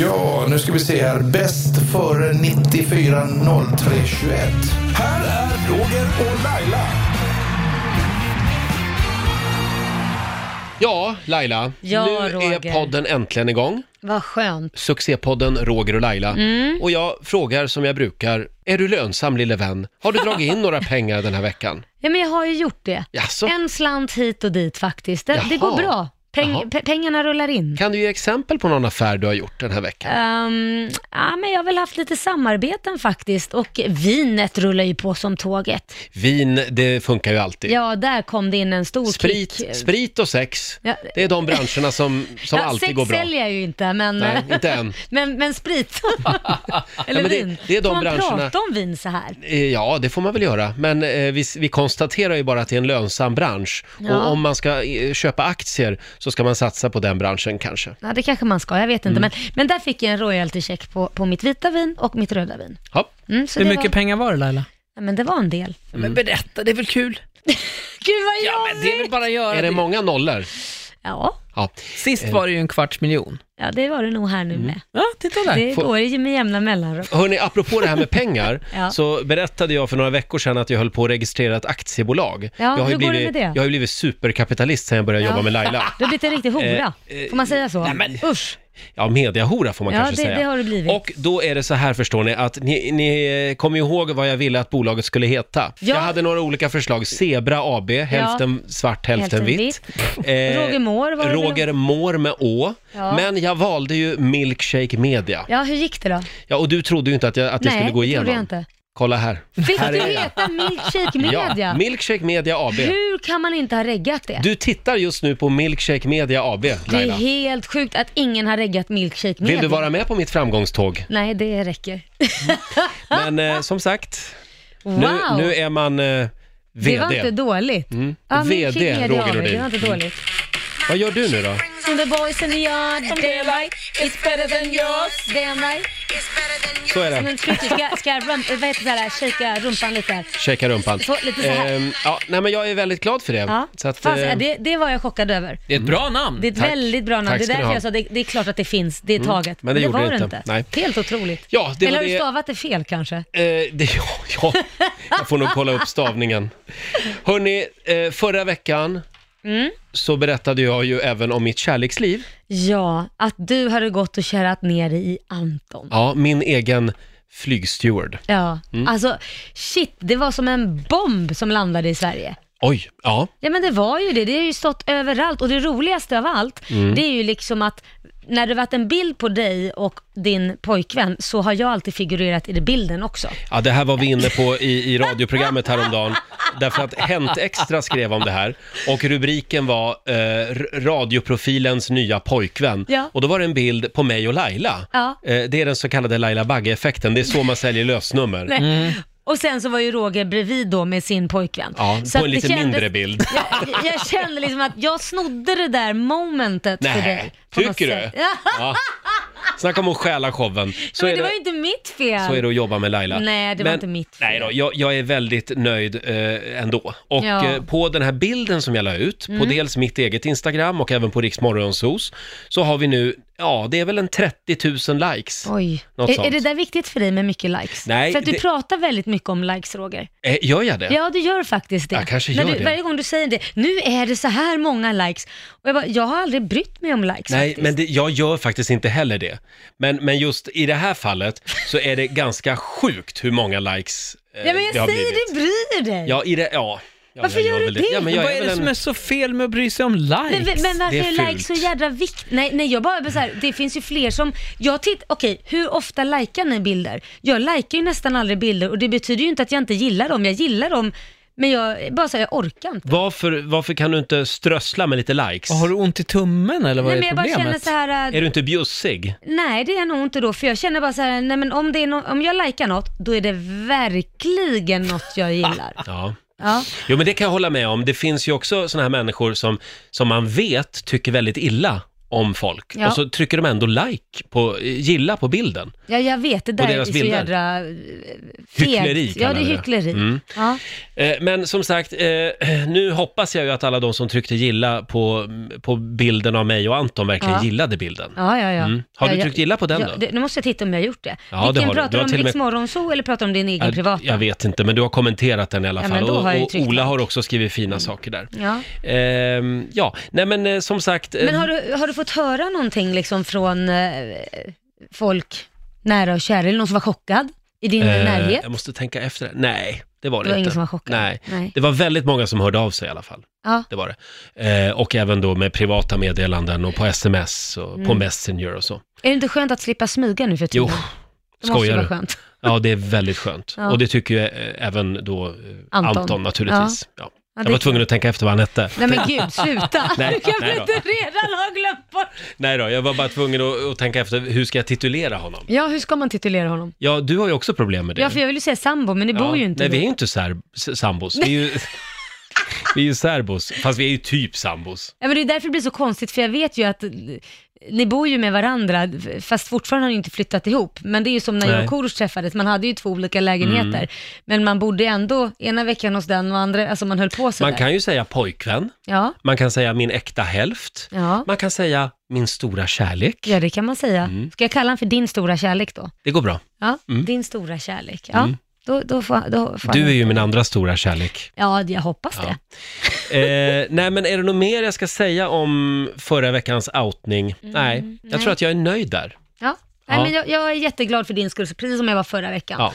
Ja, nu ska vi se här. Bäst före 94 03 21. Här är Roger och Laila. Ja, Laila. Ja, nu Roger. är podden äntligen igång. Vad skönt. Succépodden Roger och Laila. Mm. Och jag frågar som jag brukar. Är du lönsam lille vän? Har du dragit in några pengar den här veckan? Ja, men jag har ju gjort det. Jaså? En slant hit och dit faktiskt. Det, det Jaha. går bra. Jaha. Peng, pe- pengarna rullar in. Kan du ge exempel på någon affär du har gjort den här veckan? Ehm, ja, men jag har väl haft lite samarbeten faktiskt och vinet rullar ju på som tåget. Vin, det funkar ju alltid. Ja, där kom det in en stor kick. Sprit, sprit och sex, Ja. det är de branscherna som, som ja, alltid sex går bra. säljer jag ju inte, men, Nej, inte än. men, men sprit. Eller Ja, men det- vin. det är de Får man branscherna- prata om vin så här? Eh, Ja, det får man väl göra. Men eh, vi, vi konstaterar ju bara att det är en lönsam bransch. Ja. Och om man ska eh, köpa aktier så ska man satsa på den branschen kanske. Ja, det kanske man ska, jag vet Mm. inte. Men, men där fick jag en royaltycheck på, på mitt vita vin och mitt röda vin. Ja. Mm, så Hur det mycket var, pengar var det Laila? ja, men det var en del. Men berätta, det är väl kul? Gud vad Mm. Ja, men det är väl bara att göra Är det det. många nollor? Ja, Ja. Sist var det ju en kvarts miljon. ja det var det nog här nu Mm. med. Ja, titta där. Det Får- går ju med jämna mellanrum. Hörni, apropå det här med pengar, Ja. så berättade jag för några veckor sedan att jag höll på att registrera ett aktiebolag. jag har ju hur går det blivit, med det? Jag har ju blivit superkapitalist sedan jag började jobba Ja. med Laila. Du har blivit en riktig hora, Eh, eh, får man säga så? nej, men- Usch! Ja, mediahora får man Ja, kanske det- säga. det har du blivit. Och då är det så här förstår ni, att ni, ni kommer ju ihåg vad jag ville att bolaget skulle heta. Ja. Jag hade några olika förslag. Zebra AB, hälften svart, hälften, Hälften vitt. Eh, Roger Moore var det väl? Roger Moore med Å. Ja. Men jag valde ju Milkshake Media. Ja, hur gick det då? Ja, och du trodde ju inte att, jag, att det Nej, skulle gå det igenom. trodde jag inte. Kolla här. Fick här du är jag. heta Milkshake Media? Ja, Milkshake Media AB. Hur kan man inte ha reggat det? Du tittar just nu på Milkshake Media AB, det är Laila. helt sjukt att ingen har reggat Milkshake Media. Vill du vara med på mitt framgångståg? Nej, det räcker. Men eh, som sagt, Wow! Nu, nu är man eh, det var VD. inte dåligt. Ja, VD, Milkshake Media Roger har vi, Det Nordin. var inte dåligt. Vad gör du nu då? And the boys in the yard, they like, it's better than yours, damn right. Så är det. Men ska, ska, ska jag rump, vad heter det där, shaka rumpan lite här. Shakea rumpan. Så, lite så här. Ehm, ja, nej, men jag är väldigt glad för det. Ja. Så att, Fast, eh, ja, det, det var jag chockad över. Det är ett bra namn. Det är ett Tack. väldigt bra namn. Tack Det är ska ni därför ha. Mm. jag sa det, det är klart att det finns, det är taget. Men det gjorde var det det inte. inte. Nej. Helt otroligt. Ja, det Eller var har du det- stavat det fel kanske? eh, det, ja, ja, jag får nog kolla upp stavningen. Hörni, eh, förra veckan Mm. så berättade jag ju även om mitt kärleksliv. Ja, att du hade gått och kärat ner dig i Anton. Ja, min egen flygsteward. Ja, Mm. alltså shit, det var som en bomb som landade i Sverige. Oj, ja. Ja men det var ju det, det har ju stått överallt och det roligaste av allt, Mm. det är ju liksom att när det varit en bild på dig och din pojkvän så har jag alltid figurerat i den bilden också. Ja, det här var vi inne på i, i radioprogrammet häromdagen. Därför att Hänt Extra skrev om det här och rubriken var eh, r- radioprofilens nya pojkvän. Ja. Och då var det en bild på mig och Laila. Ja. Eh, det är den så kallade Laila Bagge-effekten. Det är så man säljer lösnummer. Nej. Och sen så var ju Roger bredvid då med sin pojkvän. Ja, Så på en att det lite kändes- mindre bild. Jag, jag kände liksom att jag snodde det där momentet Nej, för dig. på något tycker sätt. du? Ja, Ja. Snacka om att stjäla showen. Så, men är det var ju det, inte mitt fel. så är det att jobba med Laila. Nej, det var inte mitt fel. Nej då, jag, jag är väldigt nöjd eh, ändå. Och Ja. Mm. eh, på den här bilden som jag la ut, på dels mitt eget Instagram och även på Riksmorgonsos, så har vi nu, ja det är väl en 30 000 likes. Oj. Något Är, sånt. är det där viktigt för dig med mycket likes? Nej, för att du det- pratar väldigt mycket om likes, Roger. Eh, gör jag det? Ja, du gör faktiskt det. Jag kanske När gör du, det. Varje gång du säger det, nu är det så här många likes. Och jag, bara, jag har aldrig brytt mig om likes Nej, faktiskt. men det, jag gör faktiskt inte heller det. Men, men just i det här fallet så är det ganska sjukt hur många likes eh, ja, men jag har säger blivit. det, bryr dig. Ja, i det, ja. ja Varför jag gör du väl det? Ja, men jag Vad är är väl det en... som är så fel med att bry sig om likes? Men, men varför det är är, likes fult. så jädra viktigt? Nej, nej, jag bara, bara så här, det finns ju fler som, jag titt, okej, hur ofta likar ni bilder? Jag likar ju nästan aldrig bilder och det betyder ju inte att jag inte gillar dem, jag gillar dem, men jag, bara så här, jag orkar inte. Varför, varför kan du inte strössla med lite likes? Har du ont i tummen eller vad Nej, men är jag bara problemet? känner så här, äh, Är du inte bjussig? nej det är jag nog inte då, för jag känner bara så här, nej men om, det är no, om jag likar något, då är det verkligen något jag gillar. Ja. Ja. Jo, men det kan jag hålla med om. Det finns ju också såna här människor som, som man vet tycker väldigt illa om folk. Ja. Och så trycker de ändå like, på, gilla på bilden. Ja, jag vet. Det där är deras så bilder. jädra eh, fegt. Hyckleri Ja, kallar det är vi det. hyckleri. Mm. Ja. Eh, Men som sagt, eh, nu hoppas jag ju att alla de som tryckte gilla på, på bilden av mig och Anton verkligen Ja. gillade bilden. Ja, ja, ja. Mm. Har ja, du jag- tryckt gilla på den ja, då? det- nu måste jag titta om jag har gjort det. Ja, det Vilken har du. pratar Du har om? till och med- Riks Morgonzoo eller pratar om din egen Ja, privata? Jag vet inte, men du har kommenterat den i alla Ja, fall. men då har jag ju och, och tryckt Mm. Ola like. har också skrivit fina saker där. Ja. Ehm, ja, nej men eh, som sagt. eh, Men har du, har du fått höra någonting liksom från eh, folk nära och kära, eller någon som var chockad i din eh, närhet? Jag måste tänka efter. Nej, det var det, Det var inte. ingen som var chockad? Nej. Det var väldigt många som hörde av sig i alla fall. Ja. Det var det. Eh, och även då med privata meddelanden och på sms och på Mm. Messenger och så. Är det inte skönt att slippa smyga nu för tiden? Jo, det måste ju skojar vara du? skönt. Ja, det är väldigt skönt. Ja. Och det tycker ju eh, även då eh, Anton, Anton. naturligtvis. Ja. Ja, Jag det- var tvungen att tänka efter vad han hette. Nej men gud, sluta! Nej, du kan nej väl då. inte redan ha glömt bort? Nej då, jag var bara tvungen att, att tänka efter, hur ska jag titulera honom? Ja, hur ska man titulera honom? Ja, du har ju också problem med det. Ja, för jag vill ju säga sambo, men ni Ja, bor ju inte Nej, vi är ihop. ju inte sär, s- sambos. Vi är ju, vi är ju särbos, fast vi är ju typ sambos. Ja, men det är därför det blir så konstigt, för jag vet ju att eh, ni bor ju med varandra, fast fortfarande har ni inte flyttat ihop. Men det är ju som när jag Nej. Mm. och Korosh träffades, man hade ju två olika lägenheter. Men man bodde ändå ena veckan hos den och andra, alltså man höll på sådär. Man kan ju säga pojkvän, Ja, man kan säga min äkta hälft, ja. man kan säga min stora kärlek. ja, det kan man säga. Mm. Ska jag kalla honom för din stora kärlek då? Det går bra. Ja, din stora kärlek. Ja, då, då får, då får Mm. Du han- är ju min andra stora kärlek. Ja, jag hoppas det. Eh, nej, men är det något mer jag ska säga om förra veckans outning? Mm, nej, jag tror att jag är nöjd där. Ja. Nej, Ja. Men jag, jag är jätteglad för din skull, så precis som jag var förra veckan. Ja.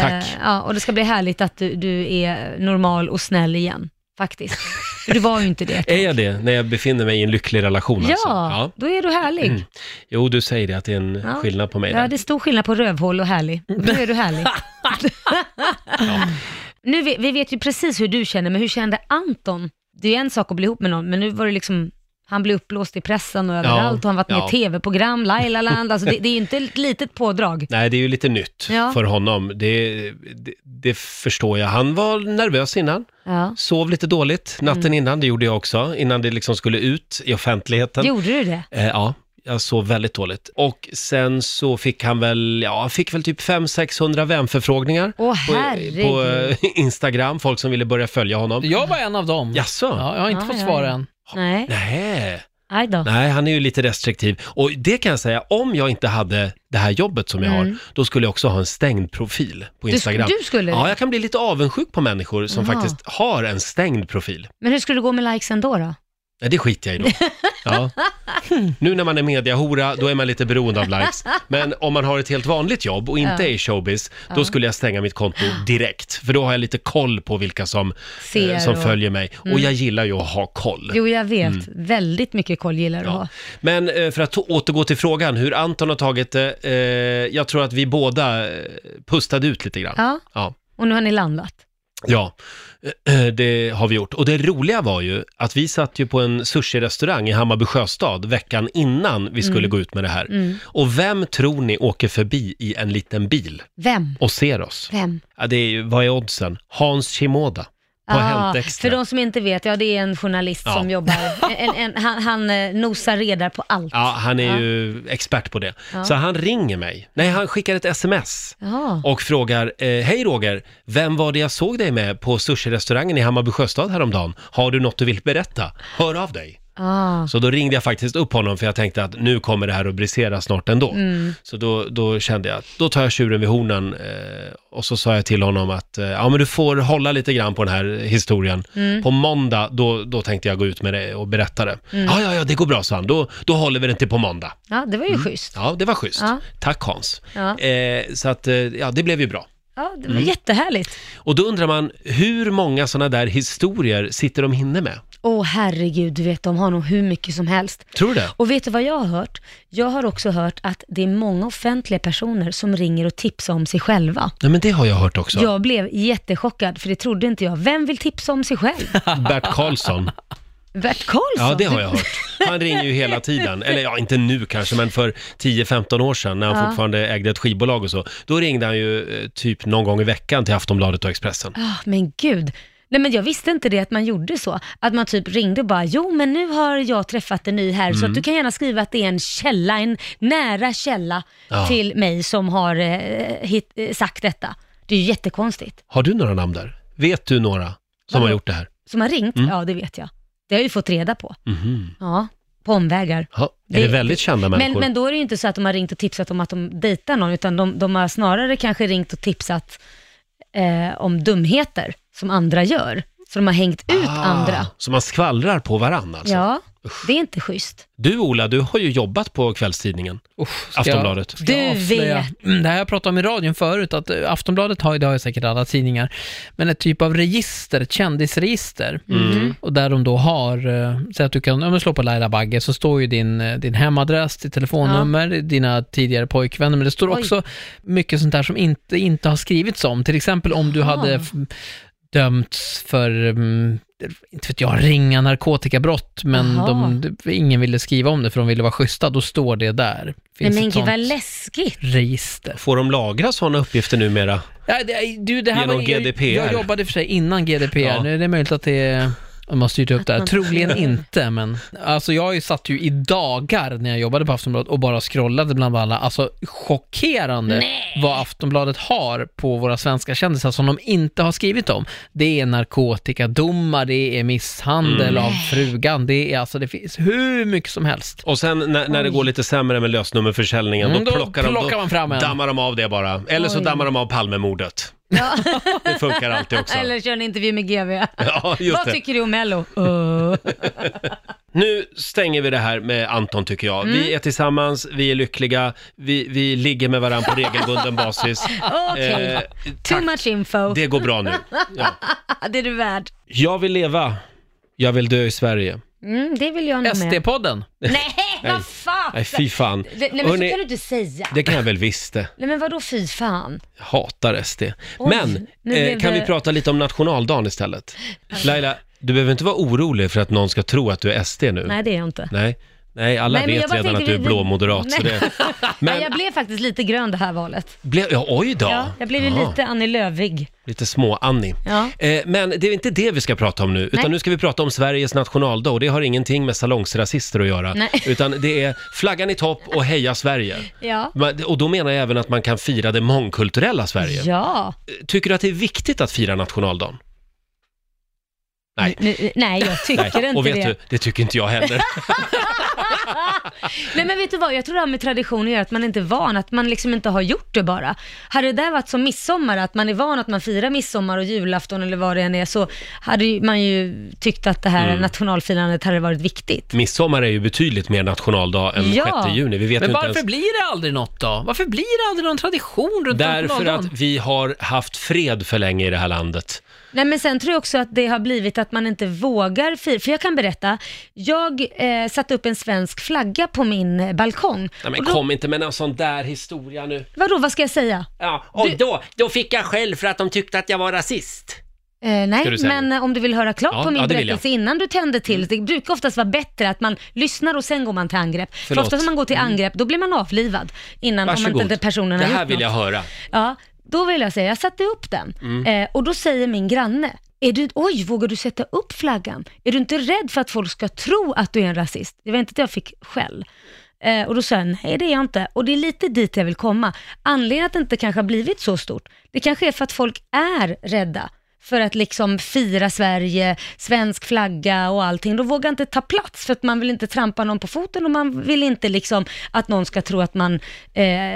tack. Eh, ja, och det ska bli härligt att du, du är normal och snäll igen, faktiskt. För du var ju inte det. Är jag det när jag befinner mig i en lycklig relation? Ja, Alltså? ja. då är du härlig. Jo, du säger det, att det är en Ja. skillnad på mig Ja, där. det är stor skillnad på rövhål och härlig. Nu är du härlig. nu, vi, vi vet ju precis hur du känner, men hur kände Anton? Det är ju en sak att bli ihop med någon, men nu var det liksom, han blev uppblåst i pressen och överallt och han varit med ja. i tv-program, Lailaland, alltså det, det är ju inte ett litet pådrag. Nej, det är ju lite nytt Ja. för honom. Det, det, det förstår jag. Han var nervös innan, Ja. sov lite dåligt natten Mm. innan. Det gjorde jag också, innan det liksom skulle ut i offentligheten. Gjorde du det? Eh, ja, jag sov väldigt dåligt. Och sen så fick han väl, ja, han fick väl typ 500-600 vänförfrågningar Åh på, herregud. på eh, Instagram, folk som ville börja följa honom. Jag var en av dem. Jaså? Ja, jag har inte Ja, fått ja, svar ja. än. Nej, Nej. aj då. Nej, han är ju lite restriktiv. Och det kan jag säga, om jag inte hade det här jobbet som jag har, då skulle jag också ha en stängd profil på Mm. Du, Instagram. du skulle Ja, jag kan bli lite avundsjuk på människor som Jaha. faktiskt har en stängd profil. Men hur skulle det gå med likesen då? Eh, då? Nej, det skiter jag i då. Ja. Nu när man är mediahora, då är man lite beroende av likes. Men om man har ett helt vanligt jobb och inte Ja. är i showbiz, då skulle jag stänga mitt konto direkt. För då har jag lite koll på vilka som, Ser eh, som och- följer mig. Och jag gillar ju att ha koll. Mm. Jo, jag vet. Väldigt mycket koll gillar du att Ja. ha. Men eh, för att to- återgå till frågan, hur Anton har tagit det. Eh, jag tror att vi båda eh, pustade ut lite grann. Ja, Ja. och nu har ni landat. Ja, eh, det har vi gjort. Och det roliga var ju att vi satt ju på en sushi-restaurang i Hammarby sjöstad veckan innan vi skulle Mm. gå ut med det här. Och vem tror ni åker förbi i en liten bil Vem? och ser oss? Vem? Ah, Ja, det är ju, vad är oddsen? Hans Shimoda på Hänt Extra. för de som inte vet, ja det är en journalist Ja. som jobbar. En, en, han, han eh, nosar reda på allt. Ja, han är Ja. ju expert på det. Ja. Så han ringer mig. Nej, han skickar ett sms. Ja. och frågar eh, Hej Roger, vem var det jag såg dig med på sushi-restaurangen i Hammarby sjöstad häromdagen? Har du något du vill berätta? Hör av dig! Ah. Så då ringde jag faktiskt upp honom för jag tänkte att nu kommer det här att brisera snart ändå. Mm. Så då, då kände jag att då tar jag tjuren vid hornen eh, och så sa jag till honom att eh, ja men du får hålla lite grann på den här historien. Mm. På måndag då, då tänkte jag gå ut med det och berätta det. Mm. Ja, ja, ja, det går bra sa han. Då, då håller vi den till på måndag. ja, det var Mm. ju schysst. Ja, det var schysst. Ja. Tack Hans. Ja. Eh, så att, eh, ja, det blev ju bra. Ja, det var Mm. jättehärligt. Och då undrar man, hur många sådana där historier sitter de inne med? Åh herregud, du vet de har nog hur mycket som helst. Tror du det? Och vet du vad jag har hört? Jag har också hört att det är många offentliga personer som ringer och tipsar om sig själva. Nej men det har jag hört också. Jag blev jättechockad, för det trodde inte jag. Vem vill tipsa om sig själv? Bert Karlsson. Bert Karlsson? Ja, det har Du- jag hört. Han ringer ju hela tiden. Eller ja, inte nu kanske, men för 10-15 år sedan när han Ja. fortfarande ägde ett skivbolag och så. Då ringde han ju eh, typ någon gång i veckan till Aftonbladet och Expressen. Ah, men gud. Nej men jag visste inte det att man gjorde så. Att man typ ringde och bara, jo men nu har jag träffat en ny här så Mm. att du kan gärna skriva att det är en källa, en nära källa Ja. till mig som har eh, hit, eh, sagt detta. Det är ju jättekonstigt. Har du några namn där? Vet du några som har gjort det här? Som har ringt? Mm. Ja, det vet jag. Det har jag ju fått reda på. Mhm. Ja, på omvägar. Ja. Är Det- det väldigt kända Men, människor? men då är det ju inte så att de har ringt och tipsat om att de dejtar någon, utan de, de har snarare kanske ringt och tipsat eh, om dumheter som andra gör. Så de har hängt ut Ah, andra. Så man skvallrar på varann alltså? Ja, det är inte schysst. Du Ola, du har ju jobbat på kvällstidningen. Usch, ska Aftonbladet. jag- ska jag Du avslöja? vet. Mm, Det här har jag pratat om i radion förut, att eh, Aftonbladet har, det har ju säkert alla tidningar, men ett typ av register, ett kändisregister, Mm. och där de då har, eh, säg att du kan, om du slår på Laila Bagge, så står ju din, eh, din hemadress, ditt telefonnummer, dina tidigare pojkvänner, men det står Oj. också mycket sånt där som inte, inte har skrivits om, till exempel om du hade f- dömts för mm, inte vet jag, ringa narkotikabrott, men Jaha. de, de- ingen ville skriva om det för de ville vara schyssta, då står det där. Nej, Finns men ett gud vad sånt läskigt. register. Får de lagra sådana uppgifter numera? Ja, det, du, det här Genom var, jag- GDPR. Jag jobbade för sig innan GDPR, Ja. nu är det möjligt att det är de har styrt upp det här. man- Troligen inte, men alltså jag satt ju i dagar när jag jobbade på Aftonbladet och bara scrollade bland alla. Alltså chockerande vad Aftonbladet har på våra svenska kändisar som de inte har skrivit om. Det är narkotikadomar, det är misshandel Mm. av frugan, det är alltså det finns hur mycket som helst. Och sen när, när det går lite sämre med lösnummerförsäljningen, Mm, då, då plockar, de, plockar man fram en. dammar de av det bara. Eller så Oj. dammar de av Palmemordet. det funkar alltid också. Eller kör en intervju med GV. Alltså. Ja, just Vad det. Eh, tycker du om Mello? Öh. Nu stänger vi det här med Anton tycker jag. Mm. Vi är tillsammans, vi är lyckliga, vi, vi ligger med varandra på regelbunden basis. Okej, Eh, too tack. much info. Det... Det går bra nu. Ja. är du värd. Jag vill leva, jag vill dö i Sverige. Mm, det vill jag nog med. SD-podden. Nej, vad fan! Nej, fy fan. Det- Nej, men så Hörrni, kan du inte säga. det kan jag väl visst det. Nej, men vadå fy fan? Jag hatar SD. Oj, Men, nu eh, blev kan det- Alltså. vi prata lite om nationaldagen istället? Laila, du behöver inte vara orolig för att någon ska tro att du är SD nu. Nej, det är jag inte. Nej, Nej, alla Nej, men jag vet bara redan tänkte att du är vi- blåmoderat. Nej. Så det... Men... Men, Jag blev faktiskt lite grön det här valet. blev... ja, oj då. Ja, jag blev ju Ja. lite Annie Lööfig. Lite små-Annie. Ja. Eh, men det är inte det vi ska prata om nu, utan Nej. nu ska vi prata om Sveriges nationaldag och det har ingenting med salongsrasister att göra. Nej. Utan det är flaggan i topp och heja Sverige. Ja. Man- Och då menar jag även att man kan fira det mångkulturella Sverige. Ja. Tycker du att det är viktigt att fira nationaldagen? Nej. Nu, nej, jag tycker inte och vet det. du, det tycker inte jag heller. Nej men vet du vad, jag tror det här med tradition gör att man inte är van, att man liksom inte har gjort det bara. Hade det där varit som midsommar, att man är van att man firar midsommar och julafton eller vad det än är, så hade ju- man ju tyckt att det här Mm. nationalfirandet hade varit viktigt. Midsommar är ju betydligt mer nationaldag än Ja. 6 juni. Vi vet Men ju inte varför ens... blir det aldrig något då? Varför blir det aldrig någon tradition runt Därför nationaldagen? att vi har haft fred för länge i det här landet. Nej men sen tror jag också att det har blivit att man inte vågar fira, för jag kan berätta, jag eh, satte upp en svensk flagga på min eh, balkong. Nej, men Och då, kom inte med någon sån där historia nu. vadå, vad ska jag säga? Ja, och då, då fick jag skäll för att de tyckte att jag var rasist. Eh, Ska du nej, säga men eh, om du vill höra klart Ja, på min ja, det vill Mm. berättelse innan du tänder till. Det brukar oftast vara bättre att man lyssnar och sen går man till angrepp. För Förlåt. Mm. oftast om man går till angrepp, då blir man avlivad innan om Varsågod. inte personen det har här gjort vill jag något. höra. Ja, då vill jag säga, jag satte upp den eh, och då säger min granne, är du, oj, vågar du sätta upp flaggan? Är du inte rädd för att folk ska tro att du är en rasist? Det var inte att jag fick skäll. Eh, och då sa jag, nej det är jag inte. Och det är lite dit jag vill komma. Anledningen att det inte kanske har blivit så stort, det kanske är för att folk är rädda för att liksom fira Sverige, svensk flagga och allting. Då vågar inte ta plats för att man vill inte trampa någon på foten och man vill inte liksom att någon ska tro att man eh,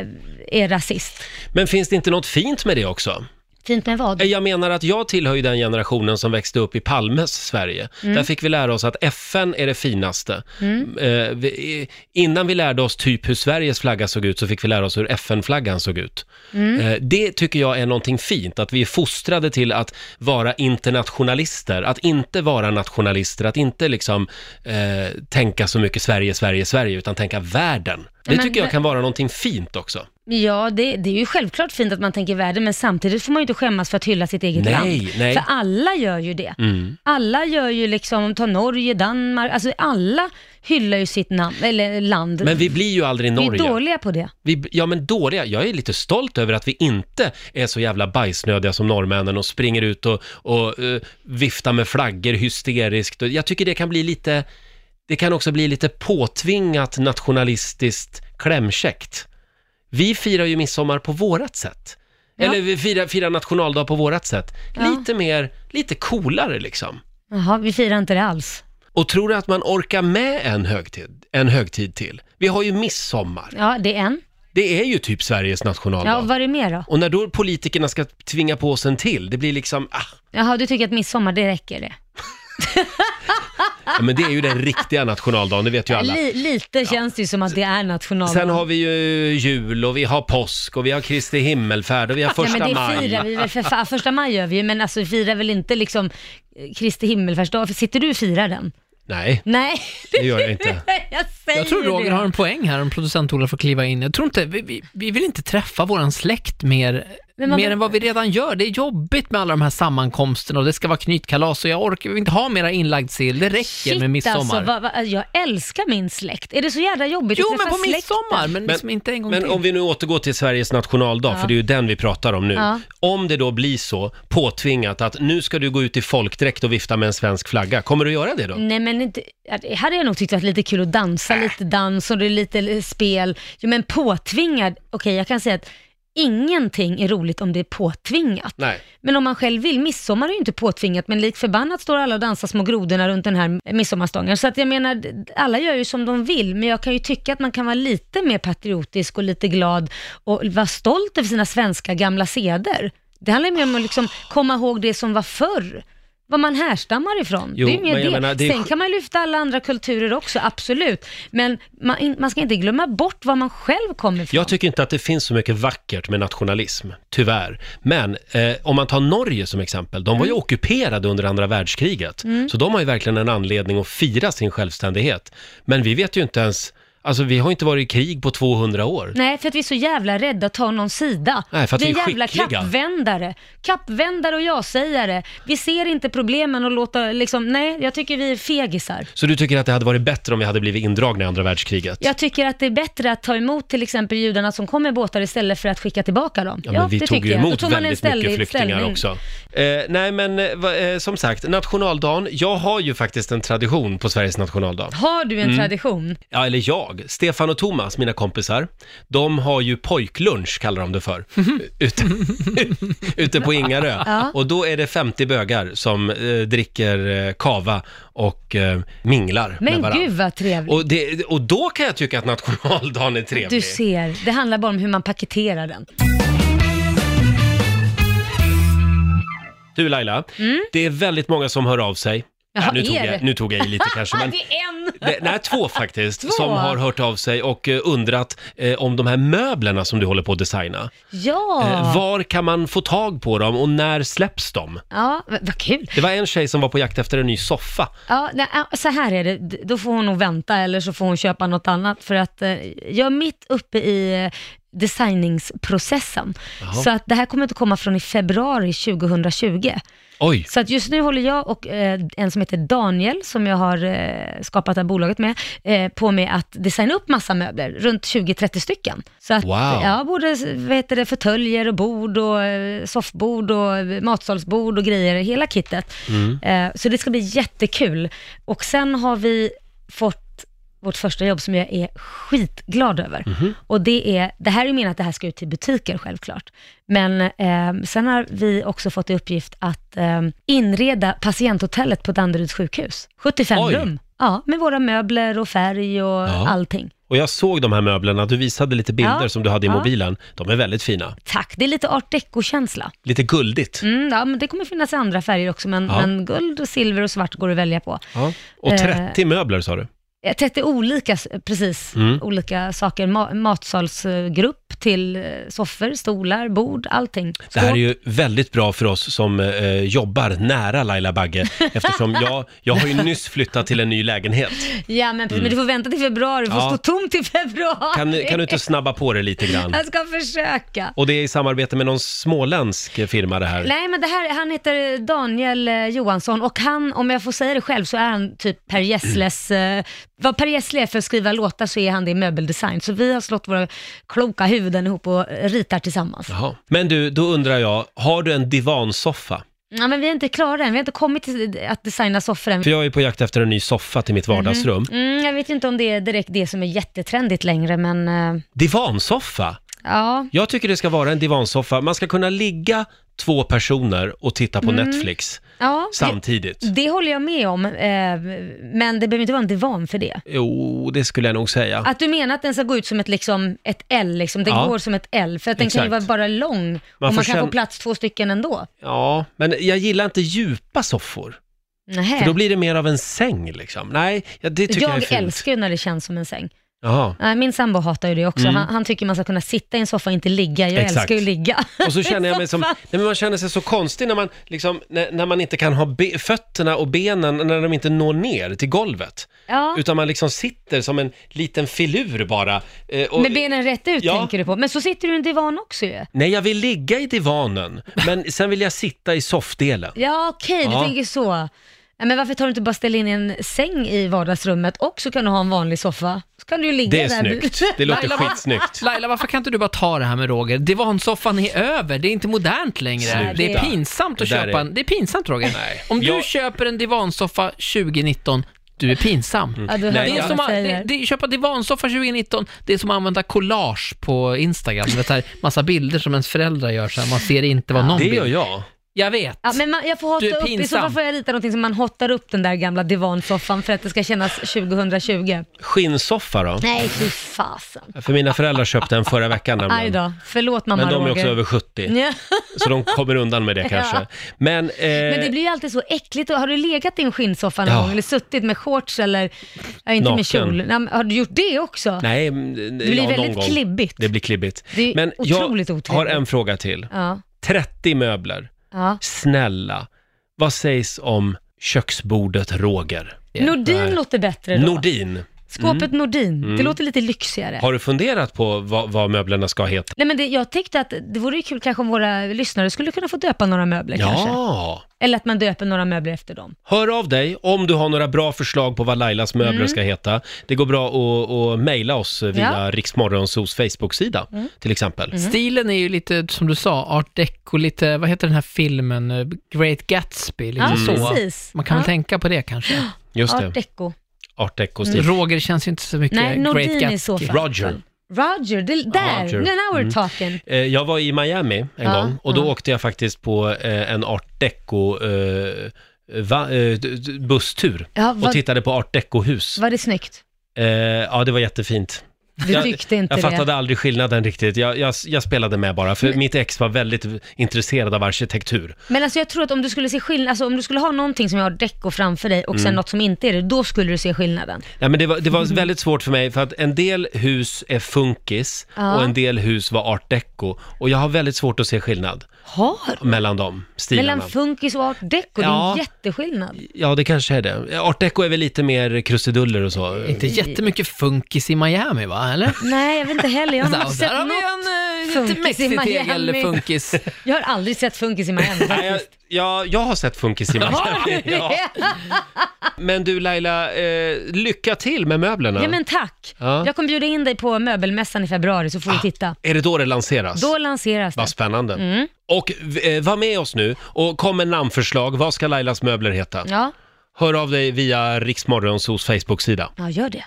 är rasist. Men finns det inte något fint med det också? Fint med vad? Eh, Jag menar att jag tillhör ju den generationen som växte upp i Palmes Sverige. Mm. Där fick vi lära oss att FN är det finaste. Eh, vi, eh, innan vi lärde oss typ hur Sveriges flagga såg ut så fick vi lära oss hur FN-flaggan såg ut. Mm. Eh, det tycker jag är någonting fint, att vi är fostrade till att vara internationalister, att inte vara nationalister, att inte liksom eh, tänka så mycket Sverige, Sverige, Sverige, utan tänka världen. Det Men- tycker jag kan vara någonting fint också. Ja, det, det är ju självklart fint att man tänker världen, men samtidigt får man ju inte skämmas för att hylla sitt eget Nej, land. nej. För alla gör ju det. Mm. Alla gör ju liksom, ta Norge, Danmark, alltså alla hyllar ju sitt namn, eller land. Men vi blir ju aldrig vi är Norge. dåliga på det. Vi, ja men dåliga, jag är lite stolt över att vi inte är så jävla bajsnödiga som norrmännen och springer ut och, och eh, viftar med flaggor hysteriskt. Och Jag tycker det kan bli lite, det kan också bli lite påtvingat nationalistiskt klämkäckt. Vi firar ju midsommar på vårat sätt. Ja. Eller vi firar, firar nationaldag på vårat sätt. Ja. Lite mer, lite coolare liksom. Jaha, vi firar inte det alls. Och tror du att man orkar med en högtid, en högtid till? Vi har ju midsommar. Ja, det är en. Det är ju typ Sveriges nationaldag. Ja, och vad är det mer då? Och när då politikerna ska tvinga på oss en till, det blir liksom, ah, Jaha, du tycker att midsommar, det räcker det? ja, men det är ju den riktiga nationaldagen, det vet ju alla. Li, lite känns det ju som att det är nationaldag. Sen har vi ju jul och vi har påsk och vi har Kristi himmelfärd och vi har första ja, men det maj. firar vi väl för fan. Första maj gör vi ju, men alltså vi firar väl inte liksom eh, Kristi himmelfärdsdag? För Sitter du och firar den? Nej, Nej, det gör jag inte. jag säger Jag tror Roger det. har en poäng här om producent-Ola får kliva in. Jag tror inte, vi, vi, vi vill inte träffa våran släkt mer, Men man- mer än vad vi redan gör. Det är jobbigt med alla de här sammankomsterna och det ska vara knytkalas och jag orkar vi vill inte ha mera inlagd sill. Det räcker Shit, med midsommar. Alltså, vad, vad, jag älskar min släkt. Är det så jävla jobbigt jo, att men träffa på släkten? midsommar, men, liksom inte en gång Men till. om vi nu återgår till Sveriges nationaldag, för det är ju den vi pratar om nu. Ja. Om det då blir så påtvingat att nu ska du gå ut i folkdräkt och vifta med en svensk flagga, kommer du göra det då? Äh. Nej men inte, ja, det hade jag nog tyckt varit lite kul att dansa lite dans och det är lite spel. Jo men påtvingad, okej jag kan säga att ingenting är roligt om det är påtvingat. Nej. Men om man själv vill, midsommar är ju inte påtvingat, men lik förbannat står alla och dansar små grodorna runt den här midsommarstången. Så att jag menar, d- alla gör ju som de vill, men jag kan ju tycka att man kan vara lite mer patriotisk och lite glad och vara stolt över sina svenska gamla seder. Det handlar ju mer om att liksom komma ihåg det som var förr. Vad man härstammar ifrån. Jo, det är ju men mer jag det. menar, det är Sen sk- kan man ju lyfta alla andra kulturer också, absolut. Men man, in- man ska inte glömma bort var man själv kommer ifrån. Jag tycker inte att det finns så mycket vackert med nationalism, tyvärr. Men eh, om man tar Norge som exempel, de var Mm. ju ockuperade under andra världskriget. Så de har ju verkligen en anledning att fira sin självständighet. Men vi vet ju inte ens, alltså vi har inte varit i krig på 200 år. Nej, för att vi är så jävla rädda att ta någon sida. Nej, för att vi är vi är jävla skickliga. kappvändare. Kappvändare och ja-sägare. Vi ser inte problemen och låter liksom, nej, jag tycker vi är fegisar. Så du tycker att det hade varit bättre om vi hade blivit indragna i andra världskriget? Jag tycker att det är bättre att ta emot till exempel judarna som kommer i båtar istället för att skicka tillbaka dem. Ja, men vi det tog tycker ju jag. Då emot tog man en väldigt ställig mycket flyktingar ställning. också. Eh, nej, men eh, va- eh, som sagt, nationaldagen. Jag har ju faktiskt en tradition på Sveriges nationaldag. Har du en Mm. tradition? Ja, eller jag. Stefan och Thomas, mina kompisar, de har ju pojklunch, kallar de det för, ute, ute på Ingarö. Ja. Och då är det 50 bögar som eh, dricker eh, kava och eh, minglar med Men varandra. gud vad trevligt. Och, det, och då kan jag tycka att nationaldagen är Du trevlig. ser, det handlar bara om hur man paketerar den. Du Laila, det är väldigt många som hör av sig. Mm. Jaha, nu, tog är jag, det? nu tog jag i lite kanske, Ah, men det är en! Det, nej, två faktiskt, Två? som har hört av sig och eh, undrat eh, om de här möblerna som du håller på att designa. Ja! Eh, var kan man få tag på dem och när släpps de? ja, vad vad kul. Det var en tjej som var på jakt efter en ny soffa. Ja, nej, äh, så här är det. D- Då får hon nog vänta eller så får hon köpa något annat för att eh, jag är mitt uppe i eh, designingsprocessen. Så att det här kommer inte komma från i februari 2020. Oj! Så att just nu håller jag och eh, en som heter Daniel, som jag har eh, skapat det här bolaget med, eh, på med att designa upp massa möbler, runt 20-30 stycken. Så att, Wow. ja, både vad heter det, förtöljer och bord och eh, soffbord och eh, matsalsbord och grejer, hela kittet. Mm. Eh, så det ska bli jättekul. Och sen har vi fått vårt första jobb som jag är skitglad över. Mhm. Och det är, det här är meningen att det här ska ut till butiker självklart. Men eh, sen har vi också fått i uppgift att eh, inreda patienthotellet på Danderyds sjukhus. 75 Oj. rum. Ja, med våra möbler och färg och Ja. allting. Och jag såg de här möblerna, du visade lite bilder Ja, som du hade i ja. mobilen. De är väldigt fina. Tack, det är lite art deco-känsla. Lite guldigt. Mm, ja, men det kommer finnas i andra färger också, men, Ja. men guld, och silver och svart går att välja på. Ja. Och Eh. 30 möbler sa du. Mm. Eh, 30 olika, s- precis, olika saker. Ma- matsalsgrupp till eh, soffor, stolar, bord, allting. Det här är ju väldigt bra för oss som eh, jobbar nära Laila Bagge eftersom jag, jag har ju nyss flyttat till en ny lägenhet. Ja men, precis, men du får vänta till februari, du får Mm. Ja. stå tom till februari. Kan, kan du inte snabba på det lite grann? Jag ska försöka. Och det är i samarbete med någon småländsk firma det här. Nej men det här, han heter Daniel eh, Johansson och han, om jag får säga det själv, så är han typ Per Gessles, eh, vad Per Gessle är för att skriva låtar så är han det i möbeldesign. Så vi har slått våra kloka huvuden ihop och ritar tillsammans. Jaha. Men du, då undrar jag, har du en divansoffa? Ja men vi är inte klara än, vi har inte kommit till att designa soffor än. För jag är på jakt efter en ny soffa till mitt vardagsrum. Mm, jag vet ju inte om det är direkt det som är jättetrendigt längre men eh, Divansoffa? ja. Jag tycker det ska vara en divansoffa. Man ska kunna ligga två personer och titta på Netflix ja det, samtidigt. Mm. det håller jag med om, eh, men det behöver inte vara en divan för det. Jo, det skulle jag nog säga. Att du menar att den ska gå ut som ett, liksom, ett L, liksom. den Ja. går som ett L, för att den kan ju vara Exakt. bara lång Man och får man kan känna- få plats två stycken ändå. Ja, men jag gillar inte djupa soffor. Nähä. För då blir det mer av en säng liksom. Nej, ja, det tycker jag, jag är fint. älskar ju när det känns som en säng. Jaha. Nej, Min sambo hatar ju det också. Han, han tycker man ska kunna sitta i en soffa och inte ligga. Jag Mm. Exakt. älskar ju att ligga. Och så känner jag mig som, nej, men man känner sig så konstig när man, liksom, när, när man inte kan ha be, fötterna och benen, när de inte når ner till golvet. Ja. Utan man liksom sitter som en liten filur bara. Eh, och, Med benen rätt ut Ja. tänker du på. Men så sitter du i en divan också ju. Nej, jag vill ligga i divanen, men sen vill jag sitta i soffdelen. Ja, okej, Ja. du tänker så. Ja, Men varför tar du inte bara ställa in en säng i vardagsrummet och så kan du ha en vanlig soffa? Så kan du ju ligga Det är där. snyggt. Det låter Laila, vad- skitsnyggt. Laila, varför kan inte du bara ta det här med Roger? Divansoffan är över, det är inte modernt längre. Sluta. Det är pinsamt att Det där köpa är- en... Det är pinsamt Roger. Nej. Om du Jag- köper en divansoffa 2019, du är pinsam. Ja, du Nej, hör Det vad är jag som att det, säger. det, köpa divansoffa 2019, det är som att använda collage på Instagram. Du vet, så här, massa bilder som ens föräldrar gör, så här, man ser inte vad någon Det gör bild. jag. Jag vet. Ja, men man, jag får Du är hotta upp, i så fall pinsam. får jag rita någonting som man hottar upp den där gamla divansoffan för att det ska kännas 2020. Skinnsoffa då? Nej, fy fasen. För mina föräldrar köpte en förra veckan Aj nämligen. då, förlåt mamma Men de är Roger. också över 70. Ja. Så de kommer undan med det kanske. Ja. Men, eh, Men det blir ju alltid så äckligt. Har du legat i en skinnsoffa någon Ja. gång eller suttit med shorts eller, ja, inte Naken. med kjol. Nej, men har du gjort det också? nej, eh, det blir väldigt klibbigt. Det blir klibbigt. Det är Men otroligt jag otrevligt. har en fråga till. Ja. 30 möbler. ja. Snälla, vad sägs om köksbordet Roger? Nordin Nej. låter bättre då. Nordin, Mm. Skåpet Nordin, det låter lite lyxigare. har du funderat på vad, vad möblerna ska heta? Nej, men det, jag tyckte att det vore ju kul kanske om våra lyssnare skulle kunna få döpa några möbler kanske. Ja! Eller att man döper några möbler efter dem. Hör av dig om du har några bra förslag på vad Lailas möbler Mm. ska heta. Det går bra att, att mejla oss via Ja. Mm. Riksmorgonsos Facebook-sida till exempel. Stilen är ju lite, som du sa, art deco, lite, vad heter den här filmen, eh, Great Gatsby, lite Ja, så. precis. Man kan väl ja. tänka på det kanske. Just Art det, deco. art Mm. deco-stil. Roger känns ju inte så mycket Nej, Great Nordin Gatsby. i så fall. Roger. Roger, det, där! Roger. Now we're talking. Eh, Jag var i Miami en Ja, gång och då ja. åkte jag faktiskt på eh, en art deco eh, va, eh, d- d- busstur Ja, och vad- tittade på art deco-hus. Var det snyggt? Eh, ja, det var jättefint. Du Jag- tyckte inte Jag det? Mm. fattade aldrig skillnaden riktigt. Jag, jag, jag spelade med bara, för mitt ex var väldigt intresserad av arkitektur. Men alltså jag tror att om du skulle se skillnad, alltså om du skulle ha någonting som har deco framför dig och sen Mm. något som inte är det, då skulle du se skillnaden. Ja, men det, var, det var Mm. väldigt svårt för mig för att en del hus är funkis Ja. och en del hus var art deco. Och jag har väldigt svårt att se skillnad Har mellan de stilarna. Mellan funkis och art deco, det är Ja. en jätteskillnad. ja, det kanske är det. Art deco är väl lite mer krusiduller och så. Inte jättemycket funkis i Miami va, eller? Nej, jag vet inte heller. Jag har, Där, nog där sett har vi något. en eh, funkis lite i mexitegel Miami. funkis. jag har aldrig sett funkis i Miami. Nej, jag, ja, jag har sett funkis i Miami. ja. Men du Laila, eh, lycka till med möblerna. Ja men tack. Ja. Jag kommer bjuda in dig på möbelmässan i februari så får Ah. du titta. Är det då det lanseras? Då lanseras det. Vad spännande. Mm. Och eh, var med oss nu och kom med namnförslag. Vad ska Lailas möbler heta? Ja. Hör av dig via Riksmorgonsos Facebook-sida. ja, gör det.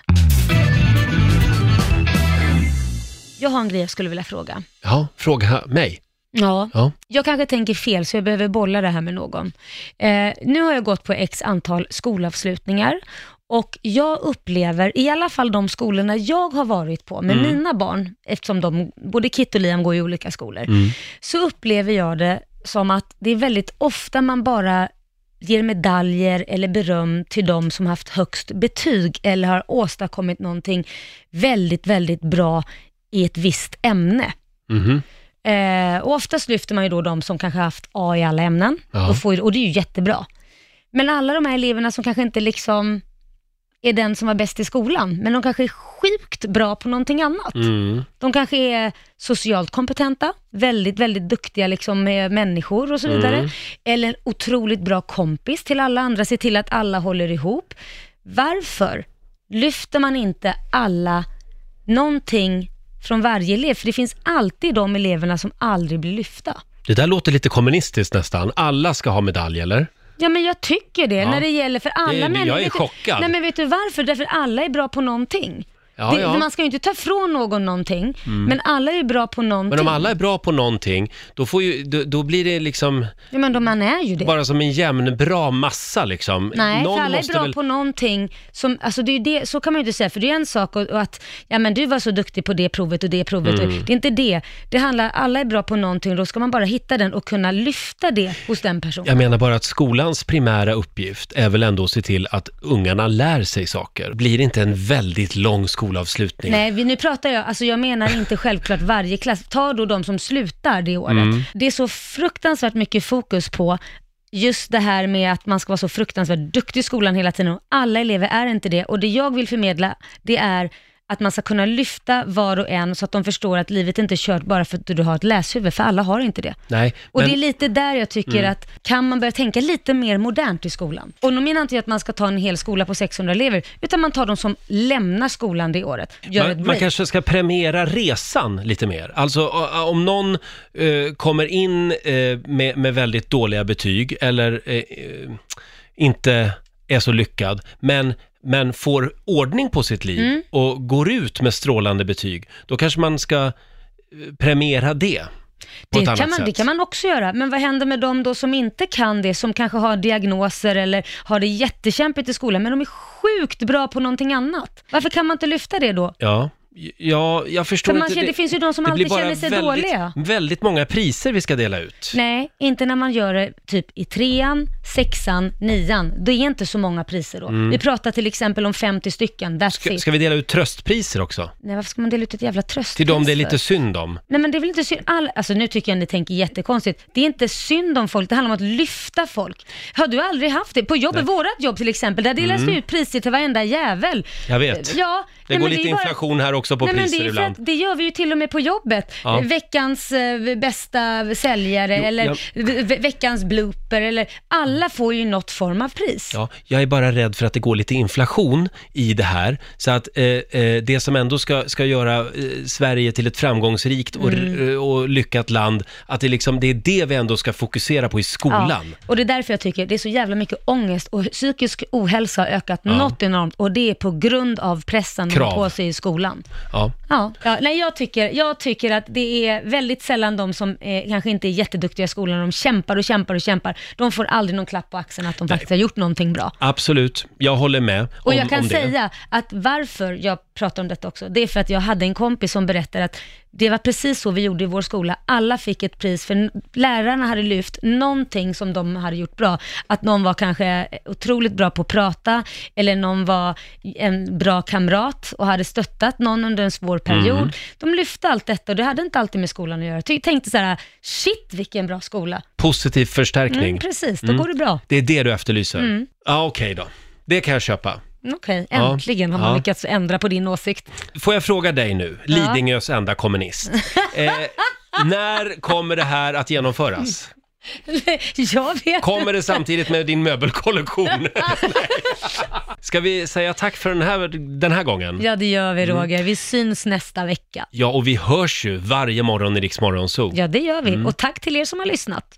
Jag har en grej jag skulle vilja fråga. Ja, fråga mig. Ja. Ja. Jag kanske tänker fel så jag behöver bolla det här med någon. Eh, nu har jag gått på x antal skolavslutningar och jag upplever, i alla fall de skolorna jag har varit på med mina barn, eftersom de, både Kit och Liam går i olika skolor, Mm. så upplever jag det som att det är väldigt ofta man bara ger medaljer eller beröm till de som haft högst betyg eller har åstadkommit någonting väldigt, väldigt bra i ett visst ämne. Mhm. Eh, och oftast lyfter man ju då de som kanske har haft A i alla ämnen, Ja. och, får, ju- och det är ju jättebra. Men alla de här eleverna som kanske inte liksom är den som var bäst i skolan, men de kanske är sjukt bra på någonting annat. Mm. De kanske är socialt kompetenta, väldigt, väldigt duktiga liksom med människor och så vidare. Mm. Eller en otroligt bra kompis till alla andra, se till att alla håller ihop. Varför lyfter man inte alla någonting från varje elev? För det finns alltid de eleverna som aldrig blir lyfta. Det där låter lite kommunistiskt nästan. Alla ska ha medalj, eller? Ja men jag tycker det, Ja. när det gäller för alla Det- jag människor. är vet du- chockad. Nej men vet du varför? Därför alla är bra på någonting. Ja, det, ja. Mm. Man ska ju inte ta från någon någonting, men alla är ju bra på någonting. Men om alla är bra på någonting, då, får ju, då, då blir det liksom Ja men de, man är ju det. bara som en jämn, bra massa liksom. Nej, Någon för alla är måste bra väl- på någonting som, alltså det är ju det, så kan man ju inte säga, för det är en sak och, och att, ja men du var så duktig på det provet och det provet, Mm. och, det är inte det. Det handlar, alla är bra på någonting, då ska man bara hitta den och kunna lyfta det hos den personen. Jag menar bara att skolans primära uppgift är väl ändå att se till att ungarna lär sig saker. Blir det inte en väldigt lång skolavslutning? Nej, vi, nu pratar jag, alltså jag menar inte självklart varje klass. Ta då de som slutar det året. Det är så fruktansvärt mycket fokus på just det här med att man ska vara så fruktansvärt duktig i skolan hela tiden och alla elever är inte det. Och det jag vill förmedla, det är att man ska kunna lyfta var och en så att de förstår att livet inte är kört bara för att du har ett läshuvud, för alla har inte det. Nej, Och men Mm. det är lite där jag tycker att, kan man börja tänka lite mer modernt i skolan? Och nu menar inte jag att man ska ta en hel skola på 600 elever, utan man tar de som lämnar skolan det året. Gör ett man, man break. kanske ska premiera resan lite mer. Alltså o- o- om någon eh, kommer in eh, med, med väldigt dåliga betyg eller eh, eh, inte är så lyckad, men men får ordning på sitt liv Mm. och går ut med strålande betyg, då kanske man ska eh, premiera det på det ett annat kan man, sätt. Det kan man också göra, men vad händer med de då som inte kan det, som kanske har diagnoser eller har det jättekämpigt i skolan, men de är sjukt bra på någonting annat? Varför kan man inte lyfta det då? Ja, ja jag förstår För man inte. känner- det finns ju de som det blir alltid bara känner sig väldigt, dåliga. väldigt många priser vi ska dela ut. Nej, inte när man gör det typ i trean, sexan, nian. Det är inte så många priser då. Vi pratar till exempel om 50 stycken, that's Mm. Ska, it. ska vi dela ut tröstpriser också? Nej, varför ska man dela ut ett jävla tröstpris Till dem det är för? lite synd om. Nej men det är väl inte synd, all... alltså nu tycker jag ni tänker jättekonstigt. Det är inte synd om folk, det handlar om att lyfta folk. Har du aldrig haft det? På jobbet, vårat jobb till exempel, där delas det ut priser till varenda jävel. Mm. Jag vet. Ja, Det nej, går men lite är bara- inflation här också på Nej, men det, priser är ju för ibland. att, det gör vi ju till och med på jobbet. Ja. Eh, Veckans eh, bästa säljare Jo, eller jag- ve- ve- veckans blooper eller alla får ju något form av pris. Ja, jag är bara rädd för att det går lite inflation i det här. Så att eh, eh, det som ändå ska, ska göra eh, Sverige till ett framgångsrikt och, Mm. r- eh, och lyckat land, att det, liksom, det är det vi ändå ska fokusera på i skolan. Ja, och det är därför jag tycker det är så jävla mycket ångest och psykisk ohälsa har ökat något enormt och det är på grund av pressen man Krav. har på sig i skolan. Ja. Ja, ja nej, jag, tycker, jag tycker att det är väldigt sällan de som eh, kanske inte är jätteduktiga i skolan, de kämpar och kämpar och kämpar, de får aldrig någon klapp på axeln att de faktiskt har gjort någonting bra. Absolut, jag håller med Och om, jag kan om det. säga att varför jag pratar om detta också, det är för att jag hade en kompis som berättade att det var precis så vi gjorde i vår skola. Alla fick ett pris för n- lärarna hade lyft någonting som de hade gjort bra. Att någon var kanske otroligt bra på att prata eller någon var en bra kamrat och hade stöttat någon under en svår period. Mm. De lyfte allt detta och det hade inte alltid med skolan att göra. Jag tänkte så här, shit vilken bra skola. Positiv förstärkning. Mm, precis, då går det bra. Det är det du efterlyser? Ja, okej då. Det kan jag köpa. Okej, Ja. äntligen har man Ja. lyckats ändra på din åsikt. Får jag fråga dig nu, Lidingös enda kommunist. Eh, när kommer det här att genomföras? jag vet Kommer det samtidigt med din möbelkollektion? Nej. Ska vi säga tack för den här, den här gången? Ja, det gör vi Roger. Vi syns nästa vecka. Ja, och vi hörs ju varje morgon i Riks Morgonzoo. Ja, det gör vi. Och tack till er som har lyssnat.